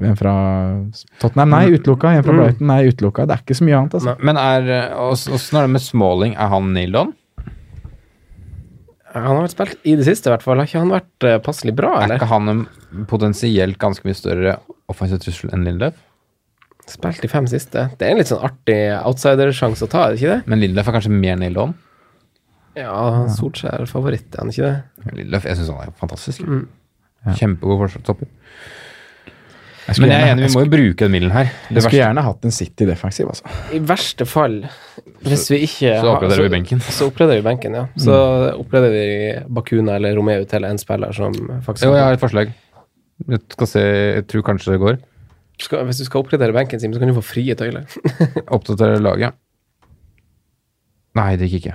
En fra Tottenham, nei, utelukka. En fra Mm. Brighton, nei, utelukka. Det er ikke så mye annet, altså. Nei. Men er eh, ås- Åssen er det med Smalling? Er han nailed on? Han har vært spilt i det siste, i hvert fall. Har ikke han vært eh, passelig bra, Er ikke eller? han en potensielt ganske mye større offensiv trussel enn Lindløf? Spilt de fem siste. Det er en litt sånn artig outsidersjanse å ta, er det ikke det? Men Lindløf er kanskje mer nailed on? Ja, Solskjær er favoritt, er han ikke det? Lindløf, jeg syns han er fantastisk. Mm. Kjempegod forsvarstopper. Jeg skulle Men jeg er gjerne- enig, vi må jo bruke den middelen her. jeg Det skulle verste. gjerne hatt en City defensiv, altså. I verste fall, hvis vi ikke Så har- oppgraderer vi benken. Mm. Så oppgraderer vi benken, ja. Så oppgraderer vi Bakuna eller Romeo til en spiller som faktisk Jo, jeg har et forslag. Jeg skal se, jeg tror kanskje det går. skal, Hvis du skal oppgradere benken, Simen, så kan du få frie tøyler. Oppdatere laget. Nei, det gikk ikke.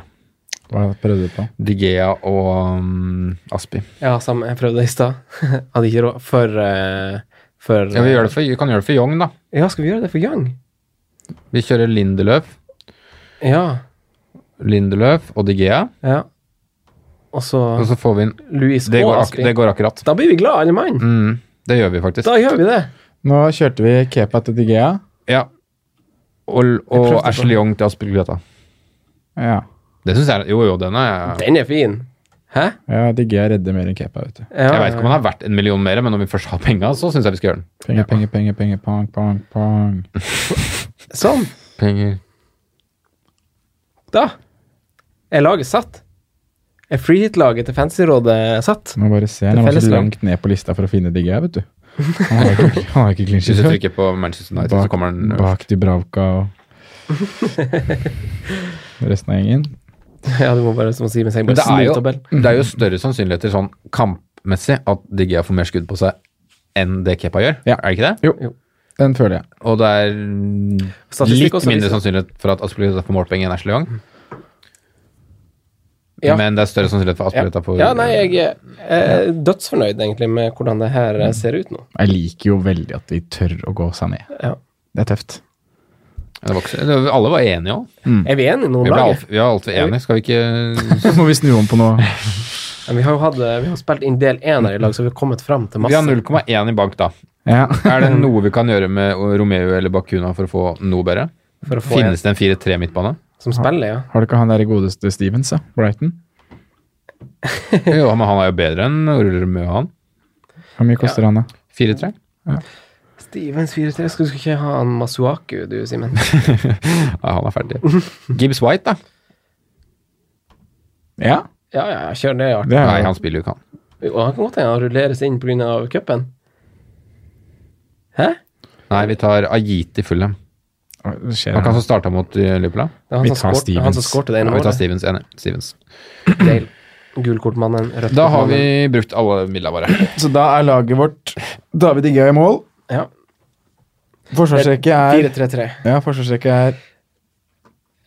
Hva prøvde du på? Digea og um, Aspi. Ja, samme. Jeg prøvde det i stad. Hadde ikke råd for, eh, for eh, Ja, vi, gjør det for, vi kan gjøre det for Young, da. Ja, skal vi gjøre det for Young? Vi kjører Lindeløf, Ja. Lindeløf og Digea. ja. Og så Og så får vi en Louis Det og går, ak Aspi. det går akkurat. Da blir vi glad alle mann. Mm, det gjør vi faktisk. Da gjør vi det. Nå kjørte vi Kepa til Digea. Ja. prøvde Og, og på- Ashley Young til Aspelgreta. Ja, Det syns jeg Jo, jo, den er Den er fin. Hæ? ja Digea redder mer enn Kepa, vet du. Ja, Jeg veit ikke om den er verdt en million mer, men når vi først har penga, så syns jeg vi skal gjøre den. Penger, penger, penger, penger, pang, pang, pang. Sånn. Penger. Da er laget satt. Er freehit-laget til Fancyrådet satt? Må bare se, Han Det var så felles lag. langt ned på lista for å finne Digea, vet du. Han har ikke, han har ikke clean Hvis sheet du før. trykker på Manchester United, så Bak, kommer den øverst. bak Dubravka og resten av gjengen. Ja, du må bare som Simen sier, bare Men det snu er, jo, tabellen. det er jo større sannsynligheter sånn kampmessig at Digea får mer skudd på seg enn det Kepa gjør, Ja. er det ikke det? Jo, Jo. den føler jeg. Og det er mm, Statistikk litt også liksom. mindre sånn viser- sannsynlighet for at Aspelgreta får målpoeng enn Ashley Young. Ja. Men det er større sannsynlighet for Aspelgreta får Ja, nei, jeg er dødsfornøyd egentlig med hvordan det her eh, ser ut nå. Jeg liker jo veldig at vi tør å gå seg ned. Ja. Det er tøft. Det var ikke, så- det, alle var enige òg. Er vi enige nå om Vi, ble laget? alt- vi var altfor enige. Skal vi ikke Så må vi snu om på noe. Ja, vi har jo hatt, eh, vi har spilt inn del én her i lag, så vi har kommet fram til Vi masse. har 0,1 i bank, da. Ja. Er det noe vi kan gjøre med Romeo eller Bakuna for å få noe bedre? for å få en Finnes det en 4-3 midtbane? som spiller, ja. Har du ikke han der godeste Stevens, da? Brighton? Jo, men han er jo bedre enn Romeo, han. Hvor mye koster han, da? 4-3. Stevens 4-3, skal du ikke ha en Masuaku, du, Simen? Ja, han er ferdig. Gibbs White, da. Ja, Ja, ja, kjør det, ja. det er Nei, jo han spiller jo ikke, han. Jo, han kan godt hende han rulleres inn pga. cupen. Hæ? Nei, vi tar Ajiti Fulham. Det skjer Han kan han. så starte mot eh, Liverpool, da. Det var han Vi som tar skårte- Han som Stevens. skårte det Ja, ene vi tar året. Stevens. Enig. Stevens. Dale. Gulkortmannen. rødt Da har kortmannen. vi brukt alle midlene våre. Så da er laget vårt David Igga i mål. Ja. Forsvarsrekke er 4-3-3. Ja, forsvarsrekke er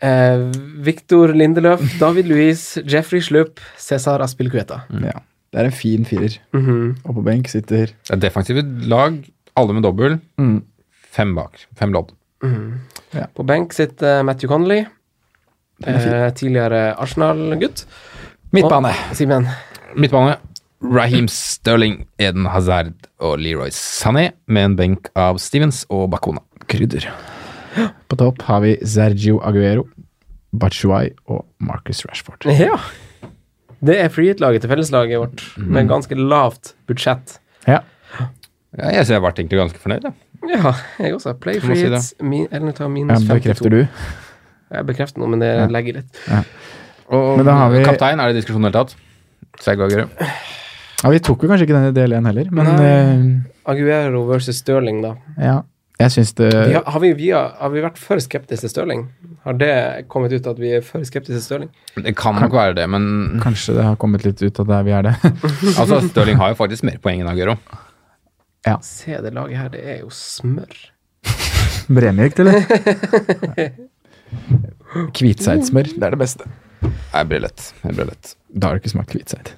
Eh, Victor Lindeløf, David Louise, Jeffrey Slupp, Cæsar Aspilcueta. Ja. Det er en fin firer. Mhm. Og på benk sitter Det er defensive lag, alle med dobbel. Fem bak. Fem lodd. På benk sitter Matthew Connolly, eh, tidligere Arsenal-gutt. Midtbane. Og Simen. Midtbane. Raheem Sterling, Eden Hazard og Leroy Sané med en benk av Stevens og Bakuna. Krydder. På topp har vi Sergio Aguero, Bachuay og Marcus Rashford. Ja. Det er freehit-laget til felleslaget vårt, Mhm. med ganske lavt budsjett. Ja. Ja, jeg ser jeg har vært egentlig ganske fornøyd. Ja. Ja, jeg også. Play Kan man si free hits min, eller ta minus Ja, bekrefter 52. du? Jeg bekrefter noe, men det legger litt. Og Men da har vi- kaptein, er det diskusjon i det hele tatt? Sergo Aguero. Ja, Vi tok jo kanskje ikke den i del én heller, men Aguero versus Stirling, da. eh, ja. Jeg syns det Vi har, har, vi, vi har, har vi vært for skeptiske til Stirling? Har det kommet ut at vi er for skeptiske til Stirling? Det kan nok være det, men Kanskje det har kommet litt ut av der vi er det. altså, Sterling har jo faktisk mer poeng enn Aguero. Se det laget her, det er jo smør. Bremjukt, eller? Kvitseidsmør. Det er det beste. Jeg blir lett. Jeg blir lett. Da har du ikke smakt kvitseid.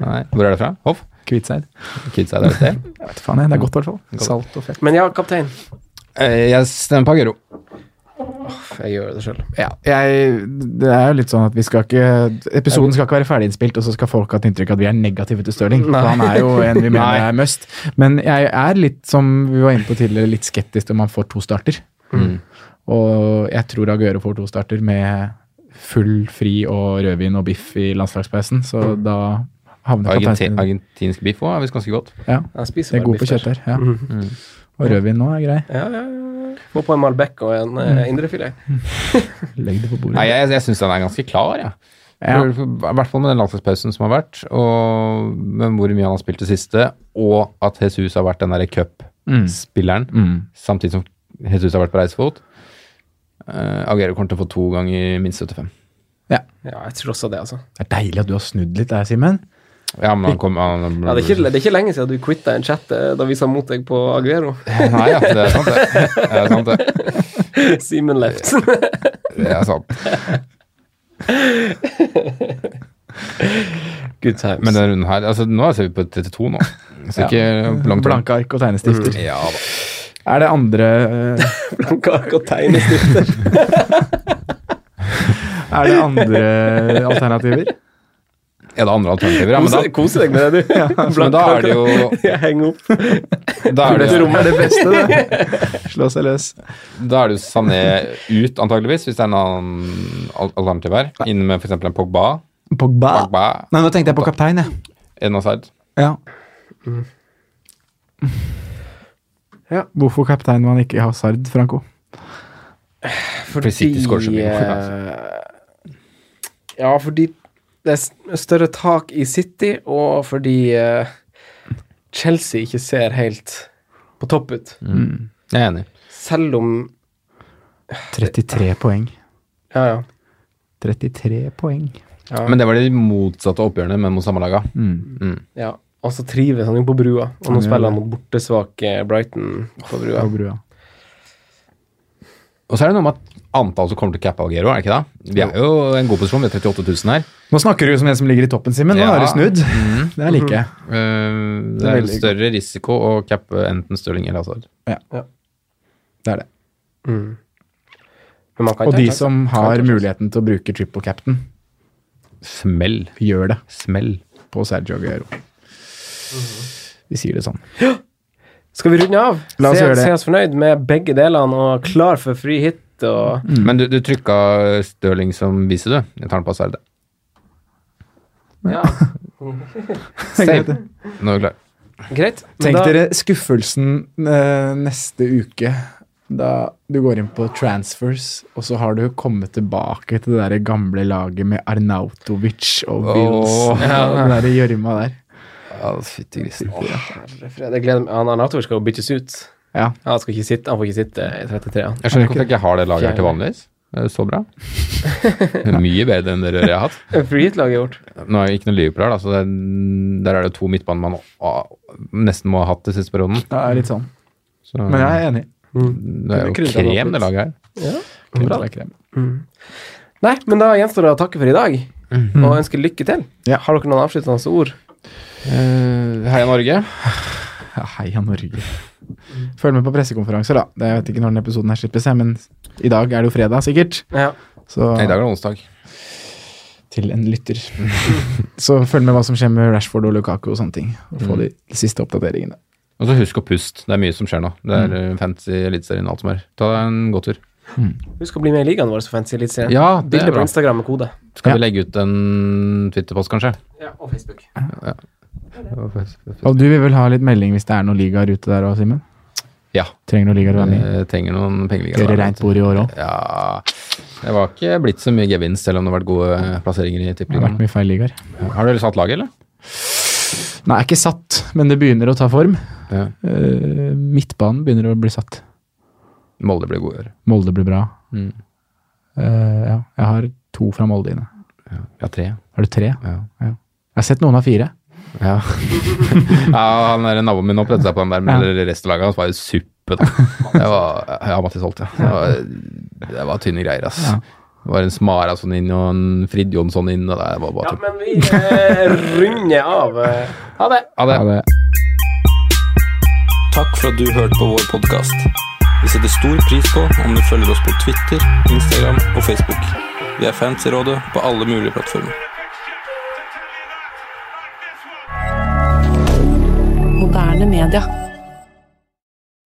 Nei. Hvor er det fra? Hoff? Kvitseid? Kidsa er det et sted? Jeg vet faen, jeg. Det er godt, i hvert fall. Salt og fett. Men ja, kaptein. Eh, Jeg stemmer på Aguero. Uff, Jeg gjør det sjøl. Ja, jeg, det er jo litt sånn at vi skal ikke Episoden skal ikke være ferdiginnspilt, og så skal folk ha et inntrykk av at vi er negative til Stirling. For Nei. han er jo en vi mener Nei. er must. Men jeg er litt, som vi var inne på tidligere, litt skeptisk til om han får to starter. Og jeg tror Aguero får to starter med full fri og rødvin og biff i landslagspausen, så da havner Argenti- kapteinen Argentinsk biff òg er visst ganske godt. ja, Jeg spiser Det er bare god på biff der. kjøtt her. Ja. Mm. Og rødvin nå er grei. Ja, ja, ja. Få på en Malbec og en eh, indrefilet. Legg det på bordet. Nei, jeg, jeg syns den er ganske klar, jeg. Ja. For- for- I hvert fall med den landslagspausen som har vært, og med hvor mye han har spilt det siste, og at Jesus har vært den derre cupspilleren, Mm. samtidig som Jesus har vært på reisefot. Eh, Aguero kommer til å få to ganger minst 75. Ja, jeg tror også det, altså. Det er deilig at du har snudd litt der, Simen. Ja, men han kom, han, Ja, det, er ikke, det er ikke lenge siden du quitta en chat eh, da vi sa mot deg på Aguero. Nei, ja, det er sant, det. Det er sant, det. Simen left. det, er sant. Good times. Men denne runden her altså Nå ser vi på 32 nå. Så ikke langt blank. Blanke ark og tegnestifter. Ja da. Er det andre eh, Kake og tegnestifter. Er det andre alternativer? Er det andre alternativer? Ja, men da, Kose kose deg med det, du. men da er det jo Jeg henger opp. Da er det, rommet er det beste, det. Slå seg løs. da er det jo Sané ut, antageligvis, hvis det er en annen al- alternativ her. Inne med f.eks. en Pogba. Pogba. Pogba Nei, nå tenkte jeg på kaptein, jeg. en offside. Ja. Mm. Ja. Hvorfor kaptein man ikke har Sard, Franco? Fordi City scorer så mye mål, altså. eh, Ja, fordi det er s- større tak i City, og fordi eh, Chelsea ikke ser helt på topp ut. Mm. Jeg er enig. Selv om 33 poeng. Ja, ja. 33 poeng. ja, Men det var de motsatte oppgjørene, men mot samme laga. Mm. ja. Og så trives han jo på brua, og Han nå gjør spiller han det. mot bortesvake Brighton på brua. Og brua. Og så er det noe med at antall som kommer til å cappe Algero, er det ikke det? Vi er jo i en god posisjon, vi er 38 000 her. Nå snakker du som en som ligger i toppen, Simen. Nå Ja. er du snudd. Det er like. Eh, det Det er er veldig større risiko å cappe enten Stirling eller Hazard. Det er det. Mm. Men man kan Og ikke de ha som sjanser. har Kan ikke ha muligheten til å bruke triple captain, Smell. gjør det Smell. på Sergio Aguero. Vi sier det sånn. sjanser. Skal vi runde av? La oss se, gjøre det. se oss fornøyd med begge delene, og klar for free hit og Mm. Men du, du trykka Stirling som viser, du. Jeg tar den på Hazard. Ja, Same. Nå er vi klar. greit. Men Tenk da- dere skuffelsen eh, neste uke da du går inn på transfers, og så har du kommet tilbake til det der gamle laget med Arnautovic og Wills Åh. og den der gjørma der. Ja, fytti grisen. Herre fred, jeg gleder meg. Han Arnatovic skal jo byttes ut. Ja. Han, skal ikke sitte, han får ikke sitte i 33. Han. Jeg skjønner ikke hvorfor jeg ikke har det laget her til vanligvis. Det er jo så bra. Det er Mye bedre enn det røret jeg har hatt. Free hit-laget er gjort. Nå er det ikke noe Liverpool her, da, så det, er- der er det to midtbaner man ah, nesten må ha hatt det siste perioden. Det er litt sånn. Så Men jeg er enig. det er jo kunne krydret det opp krem, det litt. laget her. Krem, krem. Nei, men da gjenstår det å takke for i dag, Mhm. og ønske lykke til. Ja. Har dere noen avsluttende ord? Uh, Heia Norge. Ja, heia Norge. Følg med på pressekonferanser, da. Det- Jeg vet ikke når denne episoden her slippes, jeg, men i dag er det jo fredag, sikkert. Ja. Så Nei, I dag er det onsdag. til en lytter. så følg med hva som skjer med Rashford og Lukaku og sånne ting. Og få Mm. de siste oppdateringene. Og så husk å puste. Det er mye som skjer nå. Det er mm. fancy eliteserien og alt som er. Ta deg en god tur. Husk å bli med i ligaen vår, så fancy litt senere. Ja, det Bilder er på bra. Instagram med kode. Skal Ja. vi legge ut en Twitter-post, kanskje? Ja, og Facebook. Og du vil vel ha litt melding hvis det er noen ligaer ute der òg, Simen? Ja. Trenger noen ligaer å være med i? Jeg trenger noen pengeligaer. Gjøre reint bord i år òg. Ja Det var ikke blitt så mye gevinst, selv om det har vært gode eh, plasseringer i Det har vært tippeligaen. mye feil ligaer. Har dere satt laget, eller? Nei, ikke satt, men det begynner å ta form. Ja. Eh, midtbanen begynner å bli satt. Molde blir gode i år. Molde blir bra. Mm. Eh, ja, jeg har to fra Molde inne. Ja, tre. Har du tre? Ja. Jeg har sett noen av fire. Ja, ja han der naboen min nå prøvde seg på den der, men Ja. eller resten av laget hans var jo suppe, da. Det var, ja, Mattis Holt, ja. Det var, det var tynne greier, ass. Ja. Det var en Smarason inn og en Frid Jonsson inn, og det var bare Ja, tull. men vi eh, runder av. eh. Ha det! Ha det. Ja, det Takk for at du hørte på vår podkast. Vi setter stor pris på om du følger oss på Twitter, Instagram og Facebook. Vi er fans i rådet på alle mulige plattformer. Moderne media.